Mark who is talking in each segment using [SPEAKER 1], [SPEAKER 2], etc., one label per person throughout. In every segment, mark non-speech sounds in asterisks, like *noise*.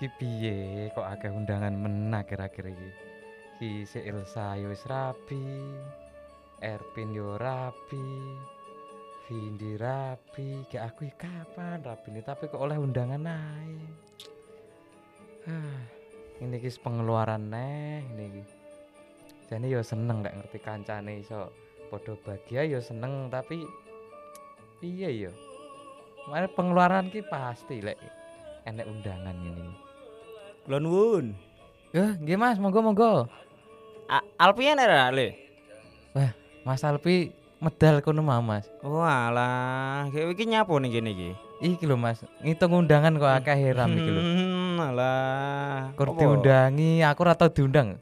[SPEAKER 1] Ki piye kok akeh undangan men akhir-akhir iki? Ki si Elsa yo wis rapi. Erpin yo rapi. Vindi rapi, ki aku iki kapan rapine tapi kok oleh undangan ae. *sighs* Hah, ini ki pengeluaran neh ini ki. Jane yo seneng lek ngerti kancane iso padha bahagia yo seneng tapi piye yo. Mane pengeluaran ki pasti lek enek undangan ini.
[SPEAKER 2] Kula nuwun.
[SPEAKER 1] Ya, nggih Mas, monggo-monggo.
[SPEAKER 2] A- Alpi enak ra, Le?
[SPEAKER 1] Wah, Mas Alpi medal kono mau Mas.
[SPEAKER 2] Walah, Oh, kayak iki nyapo ning kene iki.
[SPEAKER 1] Iki lho Mas, ngitung undangan kok akeh heram
[SPEAKER 2] *laughs*
[SPEAKER 1] iki lho.
[SPEAKER 2] Hmm, alah.
[SPEAKER 1] Kur
[SPEAKER 2] Apa?
[SPEAKER 1] diundangi, aku ora tau diundang.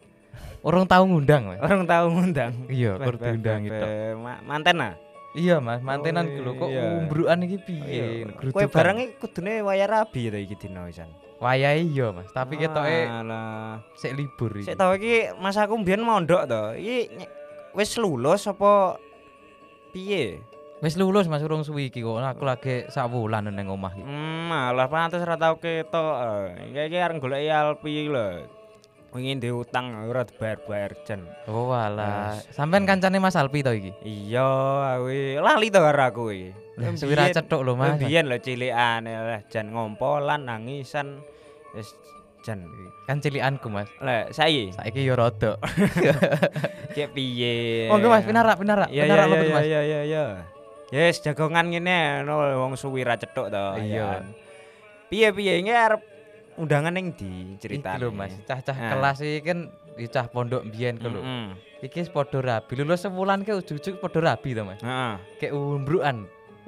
[SPEAKER 1] Orang tau ngundang, Mas.
[SPEAKER 2] *laughs* Orang tahu ngundang.
[SPEAKER 1] Iya,
[SPEAKER 2] Beh,
[SPEAKER 1] kur
[SPEAKER 2] beh,
[SPEAKER 1] diundang
[SPEAKER 2] beh,
[SPEAKER 1] itu.
[SPEAKER 2] beh. Ma- Manten ah.
[SPEAKER 1] Iya, Mas, mantenan
[SPEAKER 2] Oh,
[SPEAKER 1] ku lho kok
[SPEAKER 2] iya.
[SPEAKER 1] umbrukan iki piye?
[SPEAKER 2] Kowe barang iki kudune waya rabi ta iki dina wisan.
[SPEAKER 1] wayahe iya, Mas, tapi ketoke
[SPEAKER 2] Alah.
[SPEAKER 1] sik libur iki.
[SPEAKER 2] Ah. Sik tau iki Mas aku mbiyen mondok to. Iki ny- wis lulus apa piye?
[SPEAKER 1] Wis lulus Mas urung suwi iki kok aku lagi sak wulan nang omah iki.
[SPEAKER 2] Hmm, alah pantes ra tau ketok. eh. Iki iki areng golek Alpi iki lho. Wingi ndek utang ora dibayar-bayar jen.
[SPEAKER 1] Oh walah,
[SPEAKER 2] Mas.
[SPEAKER 1] sampean kancane Mas Alpi to iki?
[SPEAKER 2] Iya, aku iki- lali to karo aku iki.
[SPEAKER 1] Lah, Suwira cetok lho, Mas.
[SPEAKER 2] Mbiyen lho cilikan lah jan ngompolan nangisan wis jan.
[SPEAKER 1] Kan cilikanku, Mas.
[SPEAKER 2] Lah saiki
[SPEAKER 1] Saiki yo rodok.
[SPEAKER 2] cek piye?
[SPEAKER 1] Monggo Mas, pinarak, pinarak,
[SPEAKER 2] Eh, Iya
[SPEAKER 1] pinarak
[SPEAKER 2] iya
[SPEAKER 1] lho
[SPEAKER 2] iya
[SPEAKER 1] Mas.
[SPEAKER 2] iya iya iya. Yes, jagongan ngene no, wong suwira cetok to.
[SPEAKER 1] Iya.
[SPEAKER 2] ya kan. Piye-piye iki arep undangan ning di
[SPEAKER 1] Iki
[SPEAKER 2] ceritane.
[SPEAKER 1] lho Mas, cah-cah
[SPEAKER 2] Ah.
[SPEAKER 1] kelas iki kan ya cah pondok mbiyen ku lho.
[SPEAKER 2] Heeh.
[SPEAKER 1] Iki wis padha rabi. Lulus sewulan ke ujug-ujug padha rabi to Mas.
[SPEAKER 2] Heeh.
[SPEAKER 1] Kayak umbrukan.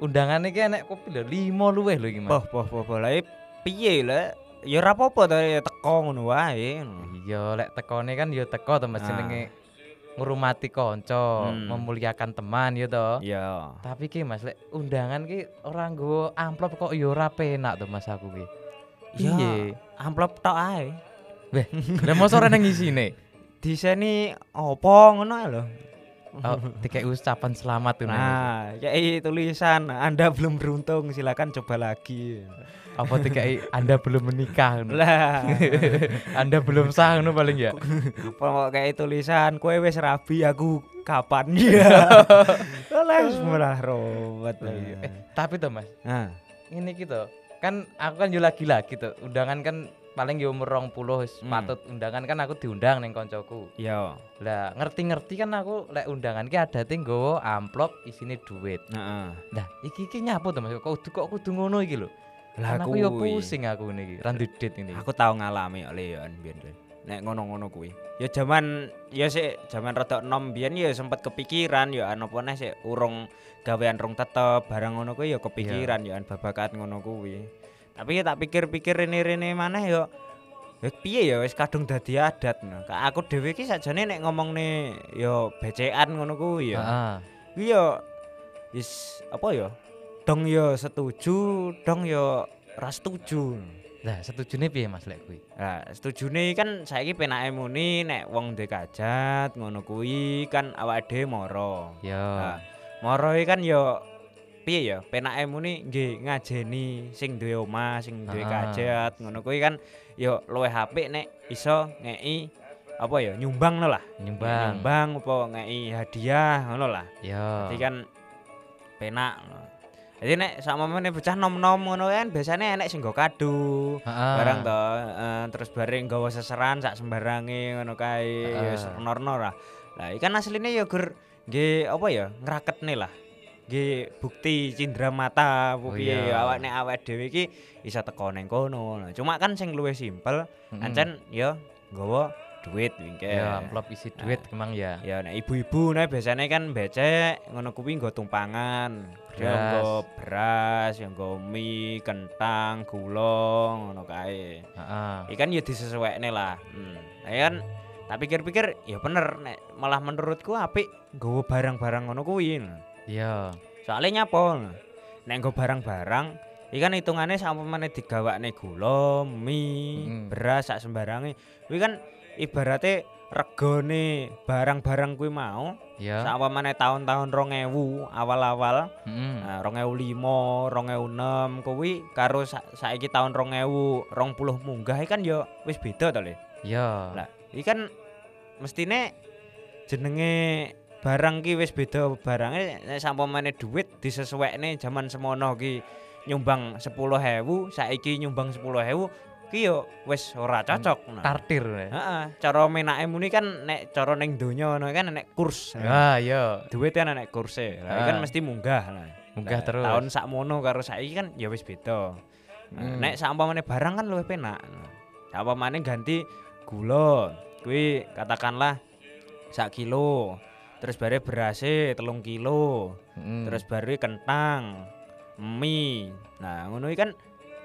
[SPEAKER 1] Undangan iki enek kopi lho, 5 luweh lho iki Mas.
[SPEAKER 2] Boh boh boh boh lah iki piye lho? Ya ora apa-apa to ya teko ngono wae.
[SPEAKER 1] Iya, lek tekone kan ya teko to Mas
[SPEAKER 2] Ah.
[SPEAKER 1] jenenge ngurmati kanca,
[SPEAKER 2] Hmm.
[SPEAKER 1] memuliakan teman ya to.
[SPEAKER 2] Iya.
[SPEAKER 1] Tapi ki Mas lek undangan ki ora nggo amplop kok ya ora penak to Mas aku ki.
[SPEAKER 2] Ya,
[SPEAKER 1] Piye?
[SPEAKER 2] Amplop tok ae.
[SPEAKER 1] Weh, lha mosok ora nang isine.
[SPEAKER 2] Diseni apa ngono ae lho.
[SPEAKER 1] Oh, dikek ucapan selamat tuh Mas.
[SPEAKER 2] Nah, kayak tulisan Anda belum beruntung, silakan coba lagi.
[SPEAKER 1] Apa dikek Anda belum menikah
[SPEAKER 2] *laughs*
[SPEAKER 1] ngono.
[SPEAKER 2] Lah,
[SPEAKER 1] Anda belum sah ngono paling ya.
[SPEAKER 2] Apa kok kayak tulisan kue wes rabi aku kapan *laughs* ya. Lah wis murah robot.
[SPEAKER 1] Eh, tapi to Mas,
[SPEAKER 2] Nah,
[SPEAKER 1] ini gitu. Kan aku kan yo lagi-lagi to. Undangan kan paling yo umur 20 wis
[SPEAKER 2] Hmm.
[SPEAKER 1] patut undangan kan aku diundang ning koncoku.
[SPEAKER 2] yo.
[SPEAKER 1] Lah ngerti-ngerti kan aku lek undangan ki adate nggawa amplop isine dhuwit.
[SPEAKER 2] Heeh.
[SPEAKER 1] Lah iki iki nyapu to Mas. Kok kudu kok kudu ngono iki lho.
[SPEAKER 2] Lah
[SPEAKER 1] Kan aku yo
[SPEAKER 2] kuwi.
[SPEAKER 1] pusing aku niki, ra ndedit ini.
[SPEAKER 2] Aku tau ngalami kok Leon biyen kuwi. Nek ngono-ngono kuwi. Ya jaman ya sik jaman rada enom biyen ya sempet kepikiran ya an apa neh sik urung gawean rung tetep barang ngono kuwi ya kepikiran ya an babakan ngono kuwi. Tapi ya tak pikir-pikir rene-rene maneh ya Ya piye ya wis kadung dadi adat no. Ka- Aku dhewe iki sajane nek ngomongne ya becekan ngono kuwi ya.
[SPEAKER 1] Heeh.
[SPEAKER 2] Kuwi ya wis apa ya? Dong ya setuju, dong ya ra setuju.
[SPEAKER 1] Lah setujune piye Mas lek kuwi?
[SPEAKER 2] Nah, setujune kan saiki penake muni nek wong ndek kajat ngono kuwi kan awake dhewe mara.
[SPEAKER 1] Yo.
[SPEAKER 2] Nah, mara iki kan ya piye ya penake muni nggih ngajeni sing duwe omah, sing duwe
[SPEAKER 1] Ah.
[SPEAKER 2] kajat ngono kuwi kan ya luwih apik nek iso ngeki apa ya nyumbang no lah.
[SPEAKER 1] Nyumbang. Ah.
[SPEAKER 2] Nyumbang apa ngeki hadiah ngono lah.
[SPEAKER 1] Yo.
[SPEAKER 2] Jadi kan penak. Jadi nek sakmene bocah nom-nom ngono kan biasanya enek sing nggo kado.
[SPEAKER 1] Heeh.
[SPEAKER 2] barang to eh, terus bareng gawa seseran sak sembarange ngono kae ya wis
[SPEAKER 1] Heeh.
[SPEAKER 2] norno lah lah ikan asline ya gur nggih apa ya ngraketne lah nggih bukti cindera mata
[SPEAKER 1] Oh
[SPEAKER 2] apa piye
[SPEAKER 1] iya.
[SPEAKER 2] ya awak nek awake dhewe iki iso teko ning kono Nah, cuma kan sing luwih simpel
[SPEAKER 1] Mm-mm.
[SPEAKER 2] ancen ya nggawa duit wingke
[SPEAKER 1] Ya amplop isi duit emang ya.
[SPEAKER 2] ya nek ibu-ibu nek biasanya kan becek ngono kuwi nggo tumpangan dia
[SPEAKER 1] Beras.
[SPEAKER 2] nggo beras ya nggo mie kentang gula ngono kae
[SPEAKER 1] Heeh.
[SPEAKER 2] ikan ya disesuaikan lah hmm. Nah, kan tak pikir-pikir ya bener nek malah menurutku apik nggawa barang-barang ngono kuwi
[SPEAKER 1] Yo.
[SPEAKER 2] soalnya nyapa nek nggo barang-barang ikan hitungannya sampai mana digawakne gula mie
[SPEAKER 1] Mm.
[SPEAKER 2] beras sak sembarange kuwi kan ibaratnya regane barang-barang kuwi mau
[SPEAKER 1] Ya.
[SPEAKER 2] Sakpamane tahun-tahun 2000 awal-awal
[SPEAKER 1] Heeh.
[SPEAKER 2] Nah, 2005, 2006 kuwi karo sa saiki tahun 2000, 20 munggah iki kan ya wis beda to, Le.
[SPEAKER 1] Ya.
[SPEAKER 2] Lah, iki kan mestine jenenge barang ki wis beda barange nek sampamane dhuwit disesuekne jaman semono ki nyumbang 10.000, saiki nyumbang 10.000 ki yo wis ora cocok. Nah.
[SPEAKER 1] Tartir. ya.
[SPEAKER 2] Heeh, cara menake muni kan nek cara ning donya ngono kan nek kurs.
[SPEAKER 1] Ya, ya.
[SPEAKER 2] Duit kan nek kurse. Lah iki kan
[SPEAKER 1] Ah.
[SPEAKER 2] mesti munggah lah.
[SPEAKER 1] Munggah
[SPEAKER 2] Nah,
[SPEAKER 1] terus.
[SPEAKER 2] Tahun sakmono karo saiki kan ya wis beda. Nah,
[SPEAKER 1] Hmm.
[SPEAKER 2] Nek saumpamane barang kan luwih penak. Saumpamane ganti gula, kuwi katakanlah sak kilo. Terus bare berase telung kilo,
[SPEAKER 1] Mm.
[SPEAKER 2] terus bare kentang, mie. Nah, ngono iki kan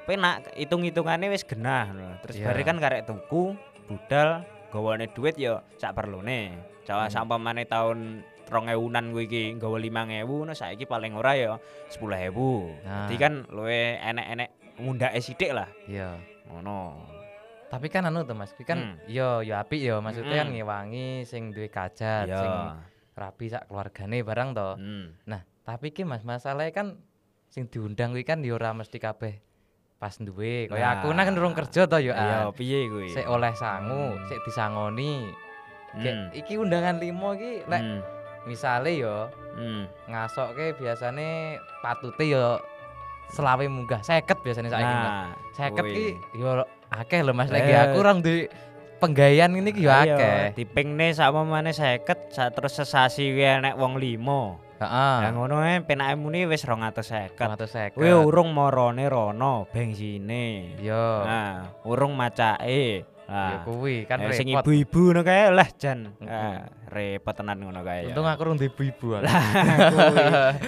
[SPEAKER 2] penak hitung-hitungane wis genah. lho. Terus
[SPEAKER 1] Iya.
[SPEAKER 2] bare kan karek tuku, budal, gawane duit ya sak perlune. Jawa
[SPEAKER 1] Hmm.
[SPEAKER 2] sampamane taun 2000-an kuwi iki nggawa 5000, ngono saiki paling ora ya 10000.
[SPEAKER 1] Nah.
[SPEAKER 2] Dadi kan luwe enek-enek ngundake sithik lah.
[SPEAKER 1] ya.
[SPEAKER 2] Ngono.
[SPEAKER 1] Tapi kan anu tuh Mas, kuwi
[SPEAKER 2] Hmm.
[SPEAKER 1] kan yo yo apik yo maksudnya kan
[SPEAKER 2] Mm-mm.
[SPEAKER 1] ngewangi sing duwe kajat, Ah, sing
[SPEAKER 2] Ya.
[SPEAKER 1] rapi sak keluargane barang to.
[SPEAKER 2] Hmm.
[SPEAKER 1] Nah, tapi ki Mas masalahnya kan sing diundang kuwi kan yo ora mesti kabeh pas duwe. Kaya aku nah kan
[SPEAKER 2] Nah.
[SPEAKER 1] durung kerja to yo.
[SPEAKER 2] Ya
[SPEAKER 1] An.
[SPEAKER 2] piye kuwi?
[SPEAKER 1] Sik oleh sangu, sik disangoni. Kayak
[SPEAKER 2] Hmm.
[SPEAKER 1] iki undangan limo iki lek
[SPEAKER 2] Hmm.
[SPEAKER 1] misale yo
[SPEAKER 2] Hmm.
[SPEAKER 1] ngasoke biasane patute yo selawe munggah 50 biasane saiki. Mas.
[SPEAKER 2] Nah,
[SPEAKER 1] 50 ki
[SPEAKER 2] kuwi.
[SPEAKER 1] yo akeh lho Mas lagi
[SPEAKER 2] Eh. Ah,
[SPEAKER 1] aku orang duwe penggawean ini ki yo
[SPEAKER 2] Ayo,
[SPEAKER 1] akeh.
[SPEAKER 2] Dipingne sama mana seket, sa terus sesasi kuwi enek wong limo.
[SPEAKER 1] Heeh.
[SPEAKER 2] Lah ngono ae penake muni wis 250.
[SPEAKER 1] 150.
[SPEAKER 2] Kuwi urung marane rono bensine.
[SPEAKER 1] Yo.
[SPEAKER 2] Nah, urung macake.
[SPEAKER 1] Ya
[SPEAKER 2] Nah,
[SPEAKER 1] Oh. kuwi kan
[SPEAKER 2] eh, sing
[SPEAKER 1] repot.
[SPEAKER 2] ibu-ibu ngono kae lah jan.
[SPEAKER 1] Mm-mm.
[SPEAKER 2] Ah, repot tenan ngono kae. ya.
[SPEAKER 1] Untung aku rung ibu-ibu. aku.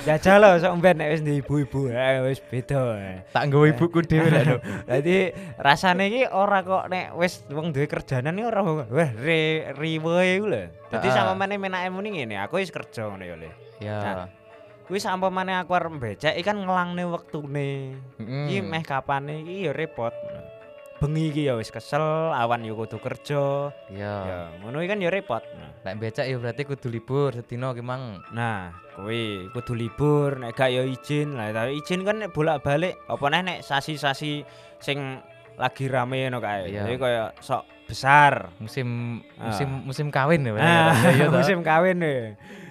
[SPEAKER 2] Jajal lho sok mben nek wis ndek ibu-ibu, eh, wis beda. eh.
[SPEAKER 1] Tak nggawa ibuku dhewe lho. Dok.
[SPEAKER 2] Dadi rasane iki ora kok nek wis wong duwe kerjaanan iki ora wah re, riwe iku lho. Dadi
[SPEAKER 1] Ah.
[SPEAKER 2] sampeyan menake muni ngene, aku wis kerja ngono ya le.
[SPEAKER 1] Ya.
[SPEAKER 2] Kuwi sampeyan aku arep becek iki kan ngelangne wektune.
[SPEAKER 1] Mm.
[SPEAKER 2] Iki meh kapane iki ya repot. Bengi iki ya wis kesel, awan ya kudu kerja.
[SPEAKER 1] Ya.
[SPEAKER 2] Ya, ngono iki kan ya repot.
[SPEAKER 1] Lek becak ya berarti kudu libur sedina ki mang.
[SPEAKER 2] Nah, kowe kudu libur nek gak ya izin. Lah tapi izin kan nek bolak-balik apa neh nek sasi-sasi sing lagi rame ngono kae.
[SPEAKER 1] Iya.
[SPEAKER 2] Jadi kaya sok besar.
[SPEAKER 1] Musim
[SPEAKER 2] Ah.
[SPEAKER 1] musim musim kawin ya.
[SPEAKER 2] Nah,
[SPEAKER 1] berarti.
[SPEAKER 2] *laughs*
[SPEAKER 1] Ya, ya, toh.
[SPEAKER 2] musim kawin ya.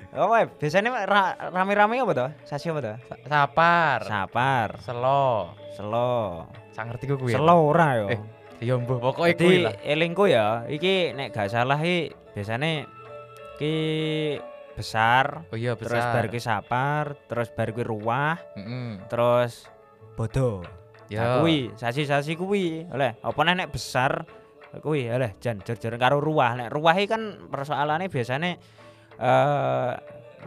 [SPEAKER 2] Oh, wae, biasanya ra- rame-rame apa toh? Sasi apa toh?
[SPEAKER 1] Sa- Sapar,
[SPEAKER 2] Sapar,
[SPEAKER 1] selo.
[SPEAKER 2] selo.
[SPEAKER 1] Sak ngerti ku kuwi. ya.
[SPEAKER 2] Selo ora yo.
[SPEAKER 1] Oh, Eh, Ya mbuh pokoke kuwi
[SPEAKER 2] Jadi
[SPEAKER 1] lah.
[SPEAKER 2] elingku ya, iki nek gak salah iki biasane ki besar,
[SPEAKER 1] Oh iya
[SPEAKER 2] terus
[SPEAKER 1] besar.
[SPEAKER 2] bar ki sapar, terus bar ki ruah,
[SPEAKER 1] Heeh.
[SPEAKER 2] terus bodo.
[SPEAKER 1] Ya.
[SPEAKER 2] Ya kuwi, sasi-sasi kuwi. Oleh, apa neh nek besar kuwi oleh jan jer-jer karo ruah. Nek ruah iki kan persoalane biasane eh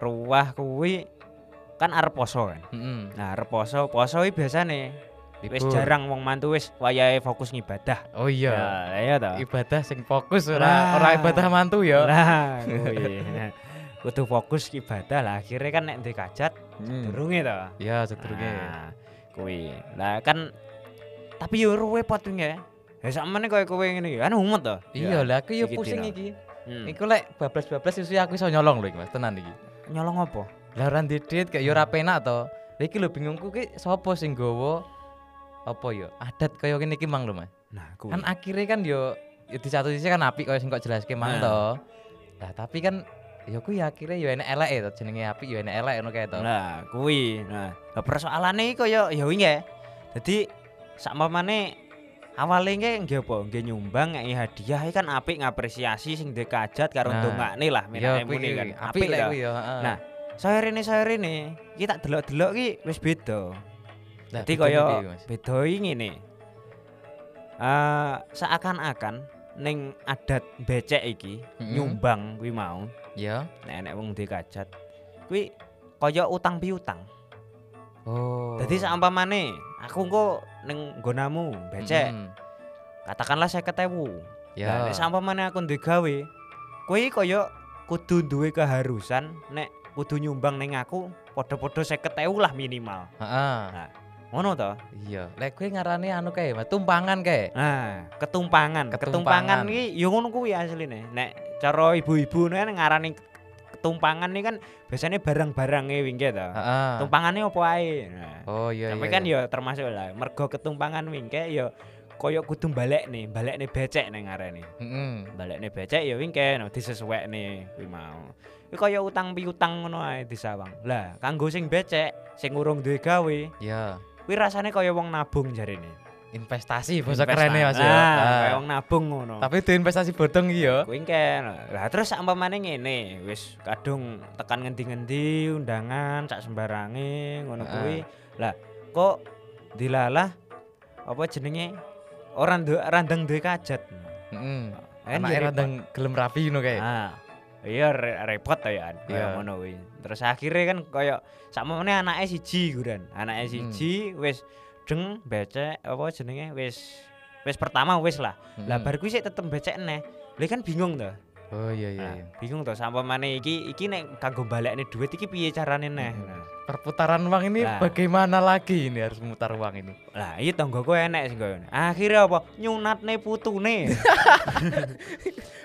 [SPEAKER 2] ruah kuwi kan arep poso kan.
[SPEAKER 1] Heeh.
[SPEAKER 2] Nah, arep poso, poso iki biasane wis
[SPEAKER 1] Libur.
[SPEAKER 2] jarang wong mantu wis wayahe fokus ngibadah.
[SPEAKER 1] Oh iya.
[SPEAKER 2] Nah, iya ta.
[SPEAKER 1] Ibadah sing fokus ora
[SPEAKER 2] Lah.
[SPEAKER 1] ora ibadah mantu ya.
[SPEAKER 2] Lah, kuwi. *laughs* Kudu fokus ibadah lah. Akhirnya kan nek ndek kajat
[SPEAKER 1] Mm.
[SPEAKER 2] durunge to.
[SPEAKER 1] Ya sedurunge.
[SPEAKER 2] Nah, Ah, kuwi. Lah kan tapi yo ruwe potunge. Ya sakmene koyo kowe ngene iki, kan umet to.
[SPEAKER 1] Iya lah aku ya
[SPEAKER 2] iki
[SPEAKER 1] pusing
[SPEAKER 2] dina.
[SPEAKER 1] iki.
[SPEAKER 2] Hmm.
[SPEAKER 1] Iku lek bablas-bablas susu aku iso nyolong lho iki Mas, tenan iki.
[SPEAKER 2] Nyolong apa?
[SPEAKER 1] Lah ora ndek duit kayak ya ora
[SPEAKER 2] Hmm.
[SPEAKER 1] penak to. Lah iki lho bingungku ki sapa sing nggawa apa ya adat kaya ngene iki mang lho Mas.
[SPEAKER 2] Nah, kuwi.
[SPEAKER 1] Kan akhirnya kan yo ya di satu sisi kan apik kaya sing kok jelaske mang
[SPEAKER 2] Nah.
[SPEAKER 1] to. Lah tapi kan ya kuwi akhirnya yo enek elek e to jenenge apik yo enek elek ngono kae to.
[SPEAKER 2] Nah, kuwi. Nah, lah persoalane iki koyo ya wingi. Dadi sakmene awale iki nggih apa? Nggih nyumbang ngeki hadiah iki kan apik ngapresiasi sing duwe kajat karo
[SPEAKER 1] Nah.
[SPEAKER 2] ndongakne lah
[SPEAKER 1] Ya
[SPEAKER 2] menake
[SPEAKER 1] kuwi
[SPEAKER 2] muni kan.
[SPEAKER 1] kan apik lek
[SPEAKER 2] to.
[SPEAKER 1] kuwi yo. heeh.
[SPEAKER 2] Nah, saya rene saya rene iki tak delok-delok iki wis beda.
[SPEAKER 1] Lah,
[SPEAKER 2] Dadi
[SPEAKER 1] bedanya
[SPEAKER 2] kaya
[SPEAKER 1] piye, Mas?
[SPEAKER 2] beda iki ngene. Eh seakan-akan ning adat becek iki
[SPEAKER 1] Mm-mm.
[SPEAKER 2] nyumbang kuwi mau
[SPEAKER 1] ya.
[SPEAKER 2] nek enek wong duwe kajat kuwi kaya utang piutang.
[SPEAKER 1] Oh.
[SPEAKER 2] Dadi saumpamane aku engko ning nggonamu
[SPEAKER 1] Hmm.
[SPEAKER 2] becek
[SPEAKER 1] Mm-mm.
[SPEAKER 2] katakanlah 50.000.
[SPEAKER 1] Ya.
[SPEAKER 2] Ya, nek saumpamane aku duwe gawe, kuwi kaya kudu duwe keharusan nek kudu nyumbang ning aku padha-padha 50.000 lah minimal.
[SPEAKER 1] Heeh.
[SPEAKER 2] Ngono to?
[SPEAKER 1] Iya. Lek kuwi ngarani anu kae Mas, tumpangan kae.
[SPEAKER 2] Nah, Ah, ketumpangan.
[SPEAKER 1] Ketumpangan.
[SPEAKER 2] Ketumpangan iki ya ngono kuwi asline. Nek cara ibu-ibu ngono kan ngarani tumpangan nih kan biasanya barang-barangnya wingi to.
[SPEAKER 1] Heeh.
[SPEAKER 2] Tumpangane opo ae. Nah.
[SPEAKER 1] Oh iya
[SPEAKER 2] Tapi
[SPEAKER 1] iya.
[SPEAKER 2] kan
[SPEAKER 1] iya.
[SPEAKER 2] ya termasuk lah mergo ketumpangan wingke ya koyo kudu balik nih, balik nih becek nih ngarani.
[SPEAKER 1] Heeh.
[SPEAKER 2] Balik nih becek ya wingke no disesuek nih kuwi mau. Kuwi koyo utang piutang ngono ae disawang. Lah, kanggo sing becek, sing urung duwe gawe,
[SPEAKER 1] Ya,
[SPEAKER 2] kuwi rasane koyo wong nabung jarene.
[SPEAKER 1] investasi bahasa keren ya Mas ya.
[SPEAKER 2] Nah,
[SPEAKER 1] Ah.
[SPEAKER 2] koyo wong nabung ngono.
[SPEAKER 1] Tapi itu investasi bodong iki ya.
[SPEAKER 2] Kuwi engke. Lah terus umpamane ngene, wis kadung tekan ngendi-ngendi undangan sak sembarange ngono
[SPEAKER 1] Heeh.
[SPEAKER 2] kuwi. Lah kok dilalah apa jenenge orang duwe randang duwe kajat.
[SPEAKER 1] Heeh.
[SPEAKER 2] Kan
[SPEAKER 1] Anak
[SPEAKER 2] ya
[SPEAKER 1] era
[SPEAKER 2] repot.
[SPEAKER 1] dang gelem rapi ngono kae.
[SPEAKER 2] Ah. Iya re- repot to ya, An.
[SPEAKER 1] Iya.
[SPEAKER 2] kaya ngono kuwi. Terus akhirnya kan kaya sakmene anake siji guran.
[SPEAKER 1] Hmm.
[SPEAKER 2] Anake siji wis deng becek apa jenenge wis wis pertama wis lah. Lah
[SPEAKER 1] Mm-mm.
[SPEAKER 2] bar kuwi sik tetep becek neh. Lha kan bingung to.
[SPEAKER 1] Oh iya iya
[SPEAKER 2] Nah,
[SPEAKER 1] iya.
[SPEAKER 2] Ah, bingung toh sampai mana iki iki nek kanggo balekne duit iki piye carane neh
[SPEAKER 1] Mm-mm.
[SPEAKER 2] nah
[SPEAKER 1] Perputaran uang ini
[SPEAKER 2] Nah.
[SPEAKER 1] bagaimana lagi ini harus memutar uang ini.
[SPEAKER 2] lah iya tonggoku enek sing koyo ngene. akhirnya apa nyunatne
[SPEAKER 1] *laughs*
[SPEAKER 2] putune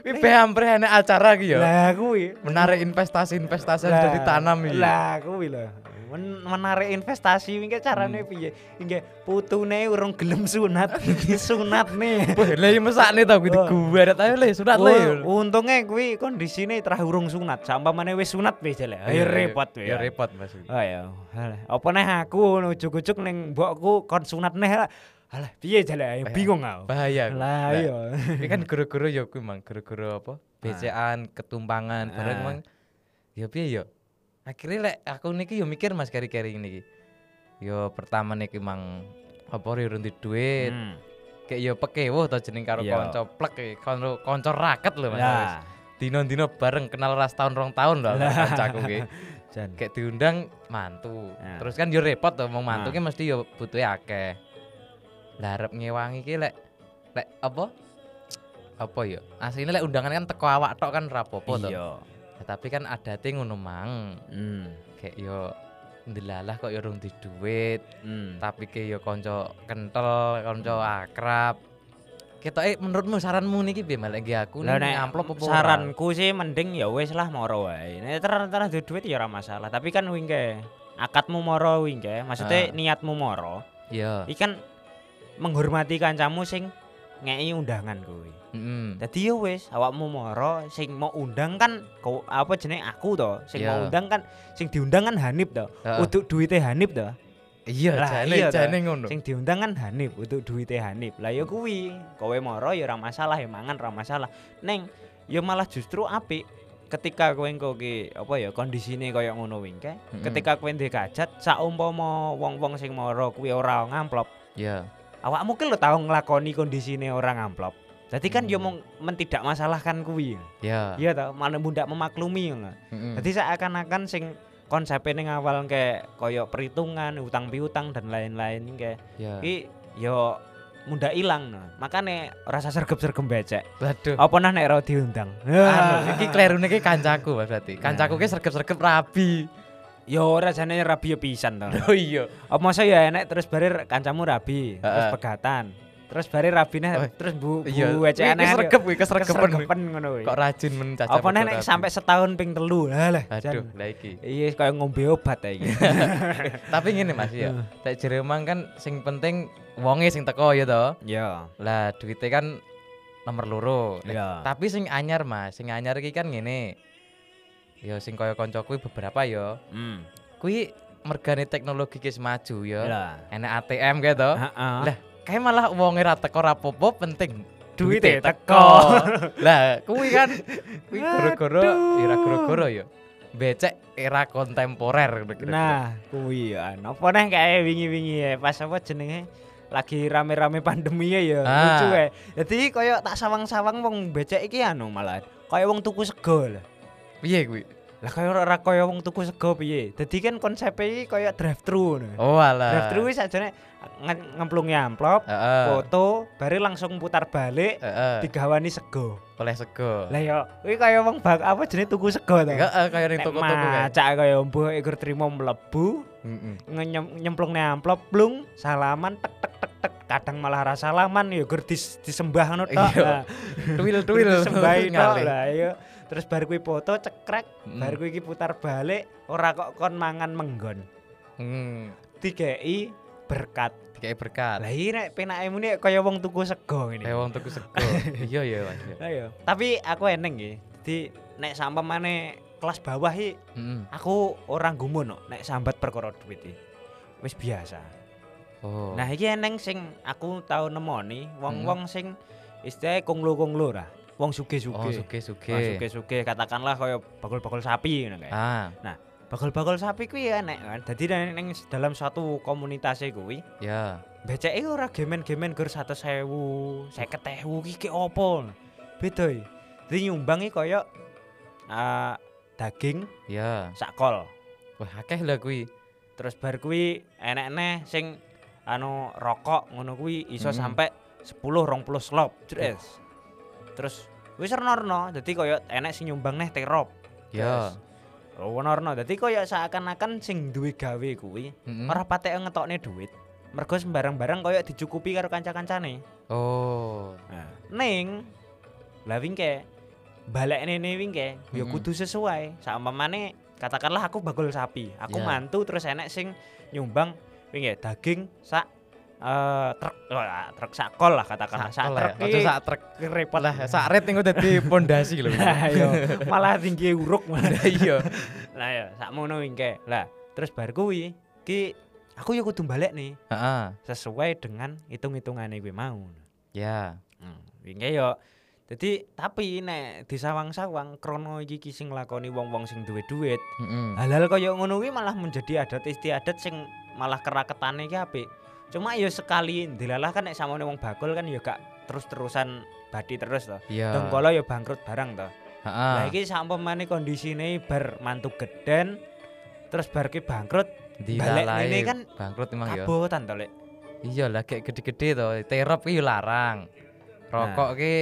[SPEAKER 1] Wih, hampir enak acara iki ya.
[SPEAKER 2] Eh. lah kuwi
[SPEAKER 1] Menarik investasi-investasi yang sudah
[SPEAKER 2] Lah,
[SPEAKER 1] ditanam iki.
[SPEAKER 2] lah kuwi lho Men- menarik investasi mingke carane
[SPEAKER 1] Hmm.
[SPEAKER 2] piye mingke putune urung
[SPEAKER 1] *laughs*
[SPEAKER 2] gelem sunat disunatne
[SPEAKER 1] Wah, lha iki mesakne ta kuwi
[SPEAKER 2] Wah.
[SPEAKER 1] gue ada tahu le sunat Iya, le.
[SPEAKER 2] Oh. Wah, Untungnya kuwi kondisine terah urung sunat, sampai mana wis sunat wis jelek.
[SPEAKER 1] Iya,
[SPEAKER 2] Ya
[SPEAKER 1] iya.
[SPEAKER 2] repot wis.
[SPEAKER 1] Ya repot Mas.
[SPEAKER 2] Oh ya, alah, apa neh aku ujuk-ujuk ning mbokku kon sunat neh. lah. Alah, piye jale
[SPEAKER 1] Bahaya.
[SPEAKER 2] bingung aku.
[SPEAKER 1] Bahaya. kuwi.
[SPEAKER 2] Lah Nah. iya.
[SPEAKER 1] Ini kan guru-guru ya kuwi mang guru-guru apa? BCAan, ketumpangan, bareng
[SPEAKER 2] Ah.
[SPEAKER 1] mang ya piye ya? Akhirnya lek aku niki yo mikir Mas kari-kari niki. Yo pertama niki mang apa yo runti duit,
[SPEAKER 2] Hmm.
[SPEAKER 1] kayak yo pekewo to jeneng karo
[SPEAKER 2] Iya.
[SPEAKER 1] kanca plek e, karo kanca raket lho Mas. Awis.
[SPEAKER 2] Lah,
[SPEAKER 1] Dino-dino bareng kenal ras tahun rong tahun lho
[SPEAKER 2] Lah.
[SPEAKER 1] kancaku
[SPEAKER 2] *laughs*
[SPEAKER 1] kuwi.
[SPEAKER 2] jan.
[SPEAKER 1] Kayak diundang mantu.
[SPEAKER 2] Nah.
[SPEAKER 1] Terus kan yo repot to wong mantu
[SPEAKER 2] Nah.
[SPEAKER 1] ki mesti yo butuhe akeh. Lah arep ngewangi ki lek lek apa? Apa yo? Asline lek undangan kan teko awak tok kan rapopo to.
[SPEAKER 2] Iya.
[SPEAKER 1] Ya, tapi kan adate ngono mang.
[SPEAKER 2] Hmm.
[SPEAKER 1] Kayak yo ndelalah kok yo rung di duit,
[SPEAKER 2] Hmm.
[SPEAKER 1] tapi ki yo kanca kentel, kanca akrab. Ketoke menurutmu saranmu niki piye malah iki aku
[SPEAKER 2] Lah
[SPEAKER 1] nih
[SPEAKER 2] nek
[SPEAKER 1] amplop apa ora?
[SPEAKER 2] saranku sih mending ya wis lah moro wae. Nek terus duwe duit ya ora masalah, tapi kan wingke akadmu moro wingke,
[SPEAKER 1] Ah.
[SPEAKER 2] maksudnya niatmu moro.
[SPEAKER 1] Iya.
[SPEAKER 2] Iki kan menghormati kancamu sing ngeki undangan kuwi.
[SPEAKER 1] Heeh.
[SPEAKER 2] Dadi ya wis awakmu moro sing mau undang kan ko- apa jenenge aku to, sing mau
[SPEAKER 1] Iya.
[SPEAKER 2] undang kan sing diundang kan Hanif to.
[SPEAKER 1] Heeh.
[SPEAKER 2] Untuk duite Hanif to.
[SPEAKER 1] Iya,
[SPEAKER 2] Lah,
[SPEAKER 1] jane
[SPEAKER 2] iya ta.
[SPEAKER 1] jane ngono.
[SPEAKER 2] Sing diundang kan Hanif untuk duite Hanif. Lah ya kuwi, kowe moro ya ora masalah ya mangan ora masalah. Neng ya malah justru apik ketika kowe engko ki apa ya kondisine kaya ngono wingke.
[SPEAKER 1] Mm-mm.
[SPEAKER 2] Ketika kowe ndek kajat saumpama wong-wong sing moro kuwi ora ngamplop,
[SPEAKER 1] Iya.
[SPEAKER 2] awakmu ki lho tau nglakoni kondisine ora ngamplop. Dadi kan ya
[SPEAKER 1] Hmm.
[SPEAKER 2] mung mentindak masalahkan kuwi.
[SPEAKER 1] Iya.
[SPEAKER 2] Iya toh, malah mundak memaklumi ngono.
[SPEAKER 1] Heeh.
[SPEAKER 2] Jadi seakan-akan sing konsepnya ning awal kayak koyo perhitungan, utang piutang dan lain-lain kayak
[SPEAKER 1] Iya.
[SPEAKER 2] ki yo mundak ilang no. Makane rasa sergep-sergep becek.
[SPEAKER 1] Waduh.
[SPEAKER 2] Apa nah nek ora diundang?
[SPEAKER 1] *laughs*
[SPEAKER 2] Ah.
[SPEAKER 1] Anu, iki klerune iki kancaku Mas berarti. Kancaku ki sergep-sergep
[SPEAKER 2] *laughs*
[SPEAKER 1] rabi.
[SPEAKER 2] Yo ora jane rabi yo
[SPEAKER 1] *laughs*
[SPEAKER 2] pisan to.
[SPEAKER 1] Oh iya.
[SPEAKER 2] Apa masa ya enek terus bare kancamu rabi, terus
[SPEAKER 1] Heeh.
[SPEAKER 2] pegatan. Terus bare rabine
[SPEAKER 1] Oh,
[SPEAKER 2] terus bu
[SPEAKER 1] Iya.
[SPEAKER 2] bu ecekan
[SPEAKER 1] Iki sergep iki kesergepan.
[SPEAKER 2] sergepen ngono kuwi.
[SPEAKER 1] Kok rajin men caca.
[SPEAKER 2] Apa nah nek sampai setahun ping telu. Lah lah.
[SPEAKER 1] Aduh, lah iki.
[SPEAKER 2] Iya kaya ngombe obat
[SPEAKER 1] *laughs*
[SPEAKER 2] ta iki.
[SPEAKER 1] Tapi ngene Mas ya.
[SPEAKER 2] *laughs*
[SPEAKER 1] Tek jere mang kan sing penting wonge sing teko ya to.
[SPEAKER 2] Yo.
[SPEAKER 1] Lah duite kan nomor loro. Nek-
[SPEAKER 2] Iya.
[SPEAKER 1] Tapi sing anyar Mas, sing anyar iki kan ngene. Ya sing kaya kanca kuwi beberapa ya.
[SPEAKER 2] Hmm.
[SPEAKER 1] Kuwi mergane teknologi ki maju ya.
[SPEAKER 2] Lah.
[SPEAKER 1] Enak ATM kae to.
[SPEAKER 2] Heeh.
[SPEAKER 1] Lah, kayak malah wonge ra teko ra popo penting
[SPEAKER 2] Duite
[SPEAKER 1] duite
[SPEAKER 2] teko.
[SPEAKER 1] teko. *laughs* lah, kuwi kan kuwi goro-goro ya ra goro-goro ya. Becek era kontemporer ngono kira-kira.
[SPEAKER 2] Nah, kuwi ya. Apa neh kae wingi-wingi ya pas apa jenenge lagi rame-rame pandemi ya ya.
[SPEAKER 1] Ah.
[SPEAKER 2] Lucu ya. Dadi koyo tak sawang-sawang wong becek iki anu malah. Kaya wong tuku sego lah.
[SPEAKER 1] piye kuwi?
[SPEAKER 2] Lah kaya ora kaya wong tuku sego piye. Dadi kan konsepe iki kaya drive thru ngono.
[SPEAKER 1] Oh alah.
[SPEAKER 2] Drive thru wis sajane nge- ngemplungi amplop,
[SPEAKER 1] Heeh.
[SPEAKER 2] foto, bare langsung putar balik
[SPEAKER 1] Heeh.
[SPEAKER 2] digawani sego.
[SPEAKER 1] Oleh sego.
[SPEAKER 2] Lah ya, kuwi kaya wong bak apa jenenge tuku sego to.
[SPEAKER 1] Heeh, kaya ning
[SPEAKER 2] Nek
[SPEAKER 1] toko-toko gitu. kae.
[SPEAKER 2] macak kaya mbuh ikur trimo mlebu,
[SPEAKER 1] Heeh.
[SPEAKER 2] nyem, nyemplung nih amplop plung salaman tek tek tek tek kadang malah rasa salaman ya gur dis, disembah ngono tok
[SPEAKER 1] *laughs* Iya.
[SPEAKER 2] Nah,
[SPEAKER 1] Tuwil-tuwil
[SPEAKER 2] gur disembahi
[SPEAKER 1] *laughs*
[SPEAKER 2] tok
[SPEAKER 1] ngalih.
[SPEAKER 2] lah ya terus bar kuwi foto cekrek
[SPEAKER 1] Mm.
[SPEAKER 2] bar kuwi iki putar balik ora kok kon mangan menggon
[SPEAKER 1] Hmm,
[SPEAKER 2] digei berkat
[SPEAKER 1] kayak berkat.
[SPEAKER 2] lah iki nek penake muni kaya wong tuku sego ngene
[SPEAKER 1] Kayak wong tuku
[SPEAKER 2] *laughs*
[SPEAKER 1] sego. Iya ya, Mas. ya.
[SPEAKER 2] Lah iya. tapi aku eneng nggih di nek sampamane kelas bawah iki
[SPEAKER 1] Mm-mm.
[SPEAKER 2] aku orang gumun no, nek sambat perkara duit iki wis biasa
[SPEAKER 1] Oh. Hmm.
[SPEAKER 2] Nah iki eneng sing aku tau nemoni wong-wong sing istilahnya konglo-konglo lah. Wong
[SPEAKER 1] oh, suge
[SPEAKER 2] suge-suge. Wong
[SPEAKER 1] suge.
[SPEAKER 2] suge-suge katakanlah kaya bakul-bakul sapi ngono kae.
[SPEAKER 1] Ah,
[SPEAKER 2] Bakul-bakul sapi kuwi ya enek. kan. Dadi nek ning dalam satu komunitas e kuwi
[SPEAKER 1] ya.
[SPEAKER 2] beceke ora gemen-gemen gur 100.000, 50.000 iki ki opo. Beda e. Dadi nyumbangi kaya ah, daging
[SPEAKER 1] Ya.
[SPEAKER 2] sakol.
[SPEAKER 1] Wah, akeh lah kuwi.
[SPEAKER 2] terus bar kuwi enekne sing anu rokok ngono kuwi iso
[SPEAKER 1] Mm.
[SPEAKER 2] sampe 10 20 slop terus terus wis renorno dadi koyo enek sing nyumbang neh terop
[SPEAKER 1] Ya.
[SPEAKER 2] renorno Oh, dadi koyo seakan-akan sing duwe gawe kuwi
[SPEAKER 1] Mm-mm.
[SPEAKER 2] ora patek ngetokne duit mergo sembarang-barang koyo dicukupi karo kanca-kancane
[SPEAKER 1] Oh.
[SPEAKER 2] nah. ning lah wingke balekne ne wingke ya
[SPEAKER 1] Mm-mm.
[SPEAKER 2] kudu sesuai saumpamane katakanlah aku bakul sapi aku
[SPEAKER 1] Ya.
[SPEAKER 2] mantu terus enek sing nyumbang wingke daging sak eh truk wah, truk sakol lah katakanlah sak
[SPEAKER 1] Sakol
[SPEAKER 2] truk
[SPEAKER 1] ya. Aja
[SPEAKER 2] iki
[SPEAKER 1] sak truk.
[SPEAKER 2] repot
[SPEAKER 1] Lah, sak rit engko dadi pondasi lho.
[SPEAKER 2] *laughs* Lah, iya. malah tinggi uruk *laughs* malah
[SPEAKER 1] Lah, Iya.
[SPEAKER 2] lah ya sak mono wingke lah terus bar kuwi ki aku ya kudu balik nih
[SPEAKER 1] Heeh.
[SPEAKER 2] sesuai dengan hitung-hitungane gue mau
[SPEAKER 1] Ya.
[SPEAKER 2] Hmm, wingke yo. Dadi tapi nek disawang-sawang krono iki ki sing lakoni wong-wong sing duwe duit.
[SPEAKER 1] Heeh.
[SPEAKER 2] Halal kaya ngono kuwi malah menjadi adat istiadat sing malah keraketane iki apik. Cuma yo sekali dilalah kan nek samone wong bakul kan yo gak terus-terusan badi terus to.
[SPEAKER 1] Ya.
[SPEAKER 2] Dengkala yo bangkrut barang to.
[SPEAKER 1] Heeh.
[SPEAKER 2] Lah iki sampamane kondisine bar mantu geden terus bar ki bangkrut balik
[SPEAKER 1] Dilalai
[SPEAKER 2] ngene kan
[SPEAKER 1] bangkrut emang ya.
[SPEAKER 2] kabotan to, Lek.
[SPEAKER 1] Iya lah kayak gede-gede to. Terop iki larang. Rokok
[SPEAKER 2] Nah.
[SPEAKER 1] ki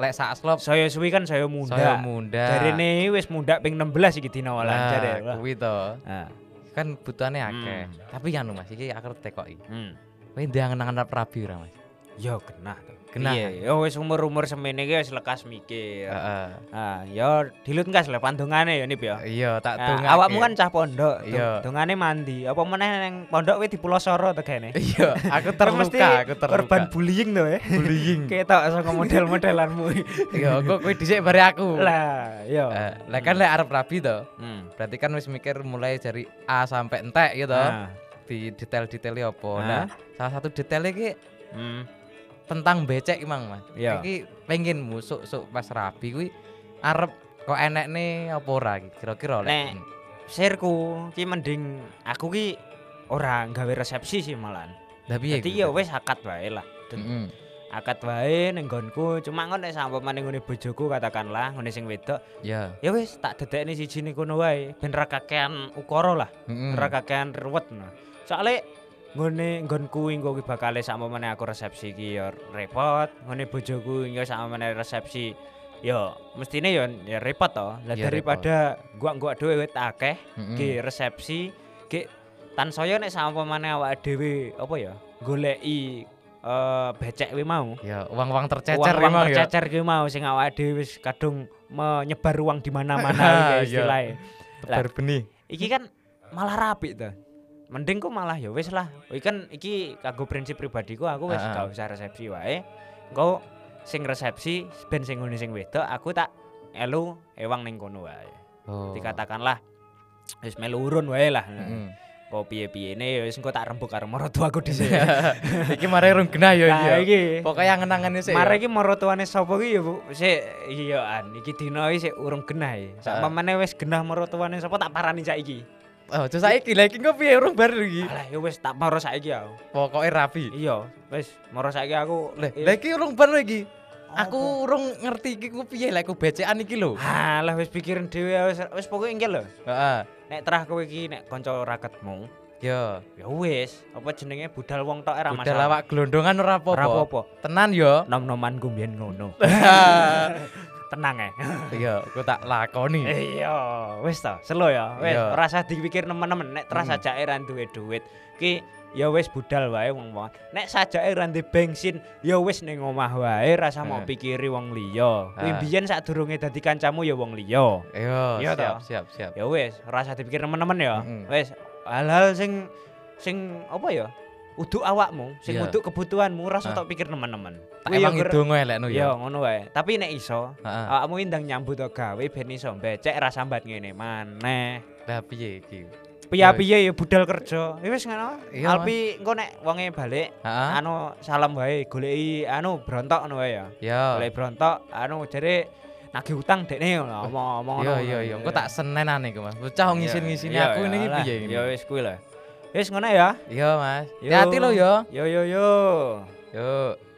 [SPEAKER 1] lek sak slop
[SPEAKER 2] Saya suwi kan saya muda.
[SPEAKER 1] saya munda.
[SPEAKER 2] Jarine wis mundhak ping 16 iki dina walan
[SPEAKER 1] Nah,
[SPEAKER 2] jare. Wah.
[SPEAKER 1] kuwi to.
[SPEAKER 2] Ah.
[SPEAKER 1] Kan butuhane akeh.
[SPEAKER 2] Hmm.
[SPEAKER 1] Tapi anu Mas, iki aku tekok iki.
[SPEAKER 2] Hmm.
[SPEAKER 1] Kowe ndang nang rabi ora Mas?
[SPEAKER 2] Yo genah to.
[SPEAKER 1] Genah.
[SPEAKER 2] Iya, yo wis umur-umur semene iki wis lekas mikir.
[SPEAKER 1] Heeh.
[SPEAKER 2] Ah, yo dilut ngkas lah pandongane yo nip yo.
[SPEAKER 1] Iya, tak
[SPEAKER 2] Ah,
[SPEAKER 1] dongake.
[SPEAKER 2] awakmu kan cah pondok, dong-
[SPEAKER 1] Iya.
[SPEAKER 2] dongane mandi. Apa meneh nang pondok kowe dipulosoro to kene.
[SPEAKER 1] *laughs* Iya, aku
[SPEAKER 2] Mesti
[SPEAKER 1] terluka, aku terluka. Hmm.
[SPEAKER 2] Korban bullying to ya.
[SPEAKER 1] bullying.
[SPEAKER 2] Kayak tok saka
[SPEAKER 1] *laughs*
[SPEAKER 2] model-modelanmu.
[SPEAKER 1] Iya, kok kowe dhisik bare aku.
[SPEAKER 2] Lah, yo.
[SPEAKER 1] Eh, Lah kan lek arep rabi to.
[SPEAKER 2] Hmm.
[SPEAKER 1] Berarti kan wis mikir mulai dari A sampai entek gitu.
[SPEAKER 2] Ah.
[SPEAKER 1] Di detail-detailnya apa.
[SPEAKER 2] Ah.
[SPEAKER 1] Nah, salah satu detailnya ki
[SPEAKER 2] Hmm.
[SPEAKER 1] tentang becek emang mas
[SPEAKER 2] Iya.
[SPEAKER 1] iki pengen musuk suk pas rabi kuwi arep kok enek nih apa ora iki? kira-kira Lek?
[SPEAKER 2] Nek. Sirku ki mending aku ki ora gawe resepsi sih malahan.
[SPEAKER 1] Lah piye
[SPEAKER 2] Dadi
[SPEAKER 1] kuwi?
[SPEAKER 2] ya wis akad wae lah. Dan
[SPEAKER 1] Mm-mm.
[SPEAKER 2] Akad wae ning nggonku, cuma ngono nek sampamane ngene bojoku katakanlah ngene sing wedok,
[SPEAKER 1] ya
[SPEAKER 2] ya wis tak dedekne siji ning kono wae ben ra kakean ukara lah,
[SPEAKER 1] Mm-mm.
[SPEAKER 2] ra kakean ruwet. Nah. Soale ngene nggonku engko ki bakale sampamane aku resepsi iki ya repot, ngene bojoku engko sampamane resepsi ya mestine ya, ya repot to. Lah
[SPEAKER 1] Ya, Hmm.
[SPEAKER 2] daripada gua-gua dhewe wit akeh
[SPEAKER 1] Mm-mm.
[SPEAKER 2] ki resepsi ki tansaya nek sampamane awake dhewe apa ya goleki eh becek kuwi mau
[SPEAKER 1] ya uang-uang tercecer
[SPEAKER 2] cecer uang
[SPEAKER 1] emang ya
[SPEAKER 2] cecer kuwi mau sing awake dhewe wis kadung menyebar uang di
[SPEAKER 1] *laughs*
[SPEAKER 2] mana-mana
[SPEAKER 1] Ah,
[SPEAKER 2] iki
[SPEAKER 1] iya.
[SPEAKER 2] istilahnya
[SPEAKER 1] tebar benih
[SPEAKER 2] iki kan malah rapi to mending ku malah ya wis lah iki kan iki kanggo prinsip pribadiku aku wis
[SPEAKER 1] Ah, ah.
[SPEAKER 2] gak usah resepsi wae engko sing resepsi ben sing ngene sing wedok aku tak elu ewang ning kono wae
[SPEAKER 1] oh.
[SPEAKER 2] dikatakanlah wis melu urun wae lah *laughs*
[SPEAKER 1] Mm-mm.
[SPEAKER 2] kok piye-piye ne ya wis engko tak rembug karo mertuaku dhisik.
[SPEAKER 1] *laughs* iki mare rung genah ya iki
[SPEAKER 2] Nah iki.
[SPEAKER 1] pokoknya ngenangane sih
[SPEAKER 2] Mare iki mertuane sapa ki ya Bu? sik iya an iki dina iki sik urung genah ya.
[SPEAKER 1] Ah.
[SPEAKER 2] Sakmene wis genah mertuane sapa tak parani saiki.
[SPEAKER 1] oh terus saiki lha iki engko piye rung bar iki
[SPEAKER 2] Alah ya wis tak maro saiki aku.
[SPEAKER 1] pokoke rabi
[SPEAKER 2] Ah. Iya, wis maro saiki aku.
[SPEAKER 1] lha
[SPEAKER 2] Eh,
[SPEAKER 1] lha iki rung bar lho iki
[SPEAKER 2] apa?
[SPEAKER 1] aku rung ngerti iki ku piye lha ku becekan iki lho
[SPEAKER 2] Alah wis pikirin dhewe wis wis pokoke engke lho.
[SPEAKER 1] heeh
[SPEAKER 2] Nek terah kowe iki nek kanca raketmu,
[SPEAKER 1] yo
[SPEAKER 2] ya wis, apa jenenge budal wong tok ora
[SPEAKER 1] udah
[SPEAKER 2] masalah.
[SPEAKER 1] lawak gelondongan ora
[SPEAKER 2] Ora
[SPEAKER 1] apa-apa
[SPEAKER 2] apa-apa.
[SPEAKER 1] tenan yo *laughs*
[SPEAKER 2] Nom-noman ku mbiyen ngono. tenang ya.
[SPEAKER 1] Iya, aku tak lakoni.
[SPEAKER 2] Eh, Iya, wis to, selo ya. Wis
[SPEAKER 1] Iya.
[SPEAKER 2] ora usah dipikir nemen-nemen nek terus
[SPEAKER 1] Mm.
[SPEAKER 2] sajake ra duwe duit. Ki ya wis budal wae wong-wong. Nek sajake ra duwe bensin, ya wis ning omah wae ra usah
[SPEAKER 1] Eh.
[SPEAKER 2] mau pikiri wong liya. Kuwi
[SPEAKER 1] Ah.
[SPEAKER 2] biyen sadurunge dadi kancamu ya wong liya.
[SPEAKER 1] Iya,
[SPEAKER 2] Iya
[SPEAKER 1] siap,
[SPEAKER 2] toh.
[SPEAKER 1] siap, siap.
[SPEAKER 2] Ya wis, ora usah dipikir nemen-nemen ya.
[SPEAKER 1] Mm-mm.
[SPEAKER 2] Wis hal-hal sing sing apa ya? Uduk awakmu, sing
[SPEAKER 1] Iya.
[SPEAKER 2] uduk kebutuhanmu, ora
[SPEAKER 1] Ah.
[SPEAKER 2] usah tok pikir nemen-nemen.
[SPEAKER 1] Tak
[SPEAKER 2] Kuwi ya
[SPEAKER 1] emang
[SPEAKER 2] ger- Ah.
[SPEAKER 1] hidung elekno
[SPEAKER 2] Ya
[SPEAKER 1] ya.
[SPEAKER 2] ngono wae. Tapi nek iso,
[SPEAKER 1] Heeh.
[SPEAKER 2] awakmu indang nyambut to gawe ben iso becek ra sambat ngene maneh.
[SPEAKER 1] Lah piye iki?
[SPEAKER 2] Piye-piye ya budal kerja. Ya wis ngono.
[SPEAKER 1] Iya,
[SPEAKER 2] Alpi engko nek wonge balik
[SPEAKER 1] Heeh.
[SPEAKER 2] anu salam wae goleki anu brontok ngono wae ya.
[SPEAKER 1] Yo.
[SPEAKER 2] Goleki brontok anu jare nagih utang dekne ngono omong-omong
[SPEAKER 1] Iya, iya, iya. Engko tak senenane iku, Mas. Bocah
[SPEAKER 2] Iya,
[SPEAKER 1] ngisin-ngisini
[SPEAKER 2] iya,
[SPEAKER 1] aku
[SPEAKER 2] iya,
[SPEAKER 1] ini
[SPEAKER 2] lah.
[SPEAKER 1] piye ini?
[SPEAKER 2] Ya wis kuwi lah. Wis ngono ya.
[SPEAKER 1] Iya, Mas.
[SPEAKER 2] Yo.
[SPEAKER 1] Hati-hati lo yo.
[SPEAKER 2] Yo yo yo.
[SPEAKER 1] Yuk.